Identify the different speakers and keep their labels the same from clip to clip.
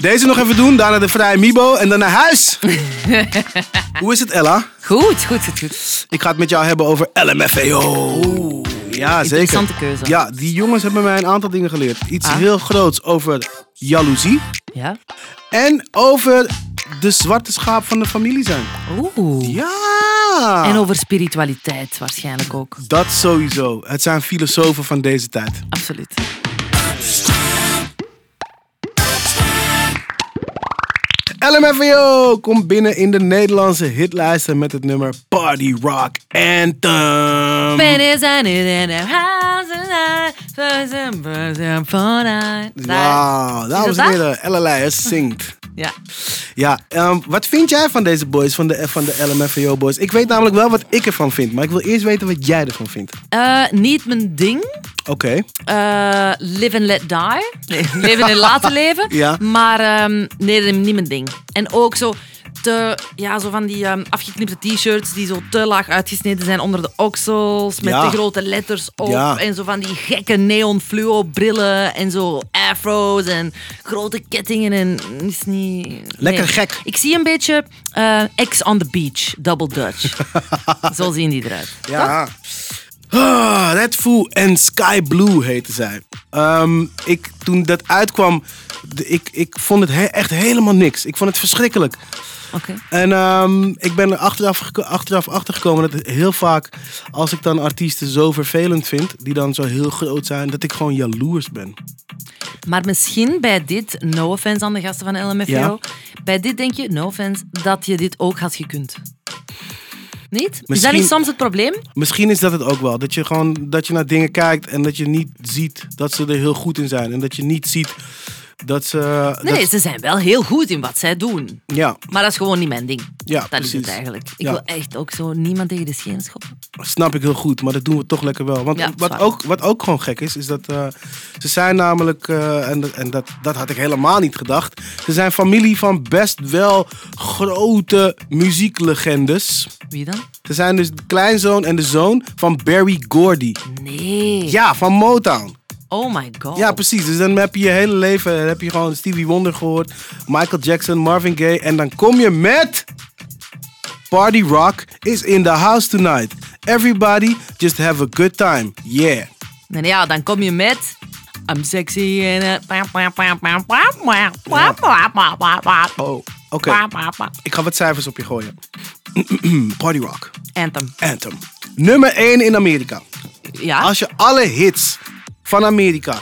Speaker 1: Deze nog even doen, daarna de vrije Mibo en dan naar huis. Hoe is het, Ella?
Speaker 2: Goed, goed, goed, goed.
Speaker 1: Ik ga het met jou hebben over LMFAO. E Ja, zeker.
Speaker 2: interessante keuze.
Speaker 1: Ja, die jongens hebben mij een aantal dingen geleerd. Iets
Speaker 2: Ah.
Speaker 1: heel groots over jaloezie
Speaker 2: Ja.
Speaker 1: en over de zwarte schaap van de familie zijn.
Speaker 2: Oeh.
Speaker 1: Ja!
Speaker 2: En over spiritualiteit waarschijnlijk ook.
Speaker 1: Dat sowieso. Het zijn filosofen van deze tijd.
Speaker 2: Absoluut.
Speaker 1: LMFAO komt E binnen in de Nederlandse hitlijsten met het nummer Party Rock Anthem.
Speaker 2: Pennies and it in a house and I, first and first and for I.
Speaker 1: Wauw, dames
Speaker 2: Is
Speaker 1: en heren,
Speaker 2: dat
Speaker 1: LLI zingt.
Speaker 2: Ja.
Speaker 1: Ja, ehm, wat vind jij van deze boys, van de, van de LMFAO boys? Ik weet namelijk wel wat ik ervan vind, maar ik wil eerst weten wat jij ervan vindt.
Speaker 2: Eh, niet mijn ding.
Speaker 1: Oké,
Speaker 2: Eh, live and let die. Nee, leven en laten leven.
Speaker 1: Ja.
Speaker 2: Maar ehm, nee, dat is niet mijn ding. En ook zo, te, ja, zo van die ehm, afgeknipte t-shirts die zo te laag uitgesneden zijn onder de oksels. Met
Speaker 1: Ja.
Speaker 2: te grote letters op.
Speaker 1: Ja.
Speaker 2: En zo van die gekke neon fluo brillen. En zo afro's en grote kettingen. En is niet... nee.
Speaker 1: Lekker gek.
Speaker 2: Ik zie een beetje eh, Ex on the beach, double Dutch. zo zien die eruit.
Speaker 1: ja. Ah, Red Foo en Sky Blue heten zij. Ehm, ik, toen dat uitkwam, de- ik, ik vond het he- echt helemaal niks. Ik vond het verschrikkelijk.
Speaker 2: Oké.
Speaker 1: En ehm, ik ben er achteraf, geko- achteraf achtergekomen dat heel vaak, als ik dan artiesten zo vervelend vind, die dan zo heel groot zijn, dat ik gewoon jaloers ben.
Speaker 2: Maar misschien bij dit, no offense aan de gasten van LMFAO,
Speaker 1: Ja.
Speaker 2: bij dit denk je, no offense, dat je dit ook had gekund. Niet? Is dat
Speaker 1: Misschien-
Speaker 2: niet soms het probleem?
Speaker 1: Misschien is dat het ook wel. Dat je gewoon dat je naar dingen kijkt en dat je niet ziet dat ze er heel goed in zijn. En dat je niet ziet dat ze.
Speaker 2: Nee,
Speaker 1: dat-
Speaker 2: nee, ze zijn wel heel goed in wat zij doen.
Speaker 1: ja,
Speaker 2: Maar dat is gewoon niet mijn ding.
Speaker 1: Ja,
Speaker 2: dat is
Speaker 1: precies.
Speaker 2: het eigenlijk. Ik
Speaker 1: Ja.
Speaker 2: wil echt ook zo niemand tegen de schenen schoppen.
Speaker 1: snap ik heel goed, maar dat doen we toch lekker wel. Want
Speaker 2: Ja,
Speaker 1: wat,
Speaker 2: zwaar.
Speaker 1: ook, wat ook gewoon gek is, is dat eh, ze zijn namelijk, eh, en, dat- en dat, dat had ik helemaal niet gedacht, ze zijn familie van best wel grote muzieklegendes.
Speaker 2: Wie dan?
Speaker 1: Ze zijn dus de kleinzoon en de zoon van Barry Gordy.
Speaker 2: Nee.
Speaker 1: Ja, van Motown.
Speaker 2: Oh my god.
Speaker 1: Ja, precies. Dus dan heb je je hele leven dan heb je gewoon Stevie Wonder gehoord, Michael Jackson, Marvin Gaye. En dan kom je met. Party Rock is in the house tonight. Everybody just have a good time. Yeah.
Speaker 2: En ja, dan kom je met... I'm sexy en...
Speaker 1: Oh, oké. Ik ga wat cijfers op je gooien. Party Rock.
Speaker 2: Anthem.
Speaker 1: Anthem. Nummer 1 in Amerika.
Speaker 2: Ja?
Speaker 1: Als je alle hits van Amerika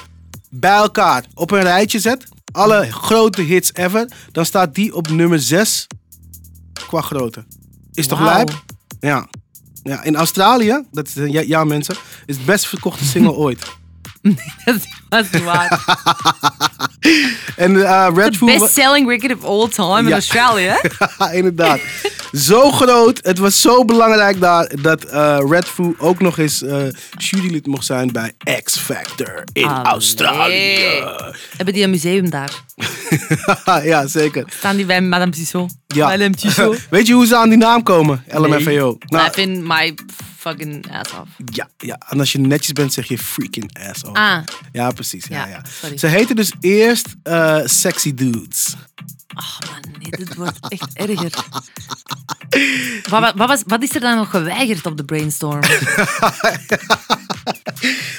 Speaker 1: bij elkaar op een rijtje zet, alle grote hits ever, dan staat die op nummer 6 qua grootte. Is toch
Speaker 2: Wauw.
Speaker 1: lijp? Ja. ja. In Australië, dat is, eh, ja, ja, mensen, is het best verkochte single ooit.
Speaker 2: Dat was waar.
Speaker 1: En eh, Red Food...
Speaker 2: Best selling record of all time
Speaker 1: Ja.
Speaker 2: in Australië. hè?
Speaker 1: inderdaad. Zo groot, het was zo belangrijk daar dat eh Red Foo ook nog eens eh, jurylid mocht zijn bij X Factor in
Speaker 2: Allee.
Speaker 1: Australië.
Speaker 2: Hebben die een museum daar?
Speaker 1: ja, zeker.
Speaker 2: Staan die bij Madame Tissot?
Speaker 1: Ja.
Speaker 2: Madame Tissot.
Speaker 1: Weet je hoe ze aan die naam komen? LMFAO. Nou,
Speaker 2: I pin my fucking ass off.
Speaker 1: ja, ja, en als je netjes bent zeg je freaking ass off.
Speaker 2: Ah.
Speaker 1: Ja, precies. Ja, ja,
Speaker 2: Ja, sorry.
Speaker 1: Ze heten dus eerst eh, Sexy Dudes.
Speaker 2: Oh man, nee, dit wordt echt erger. Wat, wat, wat was, wat is er dan nog geweigerd op de brainstorm?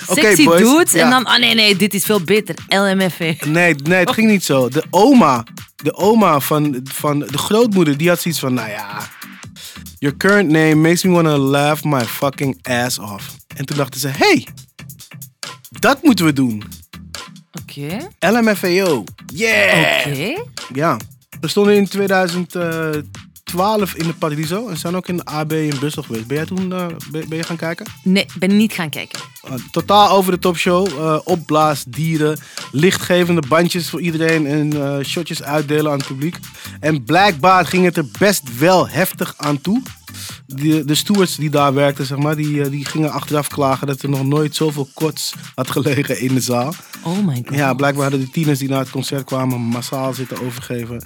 Speaker 2: Sexy
Speaker 1: boys,
Speaker 2: dudes
Speaker 1: ja.
Speaker 2: en dan... Oh nee, nee, dit is veel beter. LMFA.
Speaker 1: Nee, nee, het ging niet zo. De oma, de oma van, van de grootmoeder, die had zoiets van, nou ja... Your current name makes me wanna laugh my fucking ass off. En toen dachten ze, hey, dat moeten we doen.
Speaker 2: Oké.
Speaker 1: LMFAO. Yeah!
Speaker 2: Oké.
Speaker 1: Ja. We stonden in 2012 in de Paradiso en zijn ook in de AB in Brussel geweest. Ben jij toen eh, ben, ben je gaan kijken?
Speaker 2: Nee, ik ben niet gaan kijken.
Speaker 1: Eh, totaal over de topshow. eh opblaasdieren, lichtgevende bandjes voor iedereen en eh, shotjes uitdelen aan het publiek. En blijkbaar ging het er best wel heftig aan toe. die, de stewards die daar werkten, zeg maar, die, eh, die gingen achteraf klagen dat er nog nooit zoveel kots had gelegen in de zaal.
Speaker 2: Oh my god.
Speaker 1: Ja, blijkbaar hadden de tieners die naar het concert kwamen massaal zitten overgeven.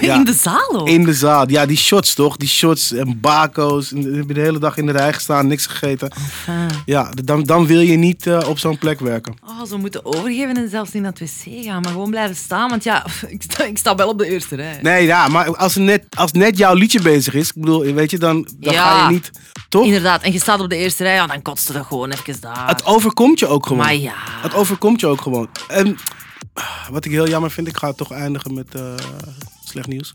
Speaker 1: Ja.
Speaker 2: In de zaal ook.
Speaker 1: In de zaal. Ja, die shots toch? Die shots en bako's. En dan heb je de hele dag in de rij gestaan, niks gegeten.
Speaker 2: Ah.
Speaker 1: Ja, dan, dan wil je niet eh, op zo'n plek werken.
Speaker 2: Oh, ze moeten overgeven en zelfs niet naar het wc gaan, maar gewoon blijven staan. Want ja, ik sta, ik sta wel op de eerste rij.
Speaker 1: Nee, ja, maar als net, als net jouw liedje bezig is, ik bedoel, weet je, dan, dan
Speaker 2: Ja.
Speaker 1: ga je niet. Toch?
Speaker 2: Inderdaad, en je staat op de eerste rij, ja, dan kotst het gewoon even daar.
Speaker 1: Het overkomt je ook gewoon.
Speaker 2: maar ja.
Speaker 1: Het overkomt je ook gewoon. En ah, wat ik heel jammer vind, ik ga toch eindigen met eh, slecht nieuws.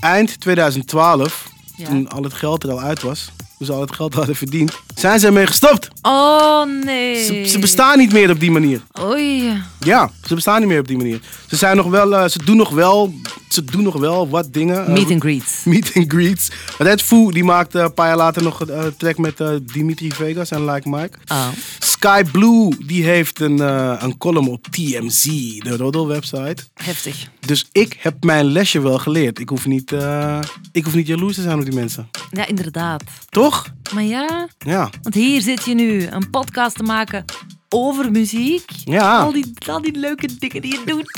Speaker 1: Eind 2012,
Speaker 2: Ja.
Speaker 1: toen al het geld er al uit was, toen ze al het geld hadden verdiend, zijn ze ermee gestopt.
Speaker 2: Oh nee.
Speaker 1: Ze, ze bestaan Eh, niet meer op die manier.
Speaker 2: Oei.
Speaker 1: Ja, ze bestaan niet meer op die manier. Ze zijn nog wel, eh, ze doen nog wel, ze doen nog wel wat dingen. Eh,
Speaker 2: Meet and greets.
Speaker 1: meet and greets. Red Foo die maakte een paar jaar later nog een eh, track met eh, Dimitri Vegas en Like Mike.
Speaker 2: Oh.
Speaker 1: Sky Blue die heeft een, eh, een column op TMZ, de roddelwebsite.
Speaker 2: Heftig.
Speaker 1: Dus ik heb mijn lesje wel geleerd. Ik hoef niet, eh, ik hoef niet jaloers te zijn op die mensen.
Speaker 2: Ja, inderdaad.
Speaker 1: Toch?
Speaker 2: Maar ja,
Speaker 1: Ja.
Speaker 2: want hier zit je nu een podcast te maken over muziek.
Speaker 1: Ja.
Speaker 2: Al die, al die leuke dingen die je doet.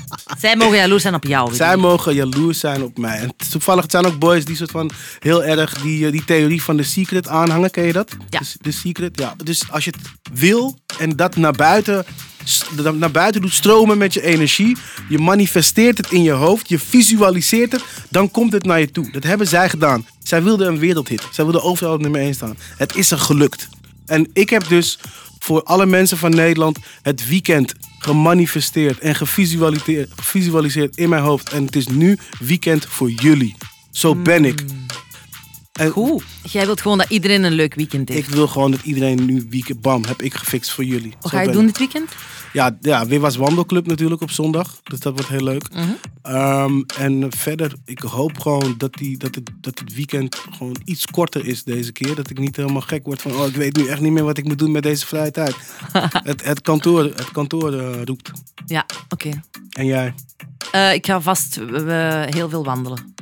Speaker 2: Zij mogen jaloers zijn op jou. weet
Speaker 1: Zij
Speaker 2: je.
Speaker 1: mogen jaloers zijn op mij. En toevallig het zijn ook boys die soort van heel erg die, eh, die theorie van de secret aanhangen. Ken je dat?
Speaker 2: Ja.
Speaker 1: Dus de secret, ja. Dus als je het wil en dat naar buiten, s- dat naar buiten doet stromen met je energie. Je manifesteert het in je hoofd. Je visualiseert het. Dan komt het naar je toe. Dat hebben zij gedaan. Zij wilden een wereldhit. Zij wilden overal op nummer 1 staan. Het is er gelukt. En ik heb dus voor alle mensen van Nederland het weekend gemanifesteerd en gevisualiseerd, gevisualiseerd in mijn hoofd. En het is nu weekend voor jullie. Zo ben ik. En
Speaker 2: Goed. Jij wilt gewoon dat iedereen een leuk weekend heeft.
Speaker 1: ik wil gewoon dat iedereen nu weekend, bam, heb ik gefixt voor jullie.
Speaker 2: Wat
Speaker 1: Zo
Speaker 2: ga je
Speaker 1: ben
Speaker 2: doen
Speaker 1: ik.
Speaker 2: dit weekend?
Speaker 1: Ja, ja, weer was wandelclub natuurlijk op zondag. Dus dat wordt heel leuk.
Speaker 2: Mhm.
Speaker 1: Ehm, en verder, ik hoop gewoon dat, die, dat, het, dat het weekend gewoon iets korter is deze keer. Dat ik niet helemaal gek word van, oh, ik weet nu echt niet meer wat ik moet doen met deze vrije tijd. het, het kantoor, het kantoor eh, roept.
Speaker 2: Ja, oké.
Speaker 1: En jij,
Speaker 2: Eh, ik ga vast eh, heel veel wandelen.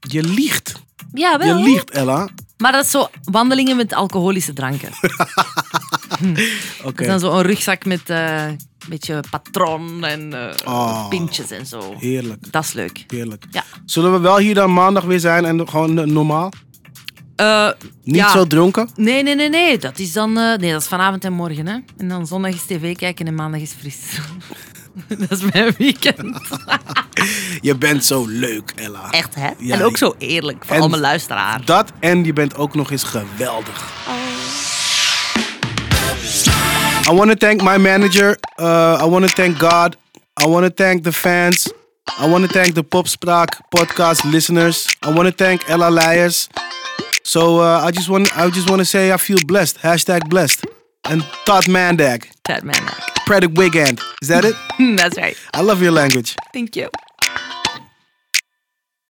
Speaker 1: je liegt.
Speaker 2: Ja,
Speaker 1: Je
Speaker 2: wel. hè?
Speaker 1: liegt, Ella.
Speaker 2: Maar dat is zo wandelingen met alcoholische dranken.
Speaker 1: Oké.
Speaker 2: Dus dan zo'n rugzak met eh, een beetje patroon en eh,
Speaker 1: Oh.
Speaker 2: pintjes en zo.
Speaker 1: Heerlijk,
Speaker 2: Dat is leuk.
Speaker 1: heerlijk.
Speaker 2: Ja.
Speaker 1: Zullen we wel hier dan maandag weer zijn en gewoon eh, normaal?
Speaker 2: Eh,
Speaker 1: Niet
Speaker 2: ja.
Speaker 1: zo dronken?
Speaker 2: Nee, nee, nee, nee. Dat is dan. eh, nee, dat is vanavond en morgen. Hè? En dan zondag is tv kijken en maandag is fris. dat is mijn weekend.
Speaker 1: Je bent zo leuk, Ella.
Speaker 2: Echt, hè?
Speaker 1: Ja,
Speaker 2: en ook zo eerlijk voor
Speaker 1: en-
Speaker 2: al mijn luisteraar.
Speaker 1: Dat en je bent ook nog eens geweldig. I want to thank my manager. Uh, I want to thank God. I want to thank the fans. I want to thank the Popspraak podcast listeners. I want to thank Ella Leijers. So uh, I just want I just want to say I feel blessed. Hashtag blessed. And Todd Mandag.
Speaker 2: Chad Manhack.
Speaker 1: Predic Wigand. Is that it?
Speaker 2: That's right.
Speaker 1: I love your language.
Speaker 2: Thank you.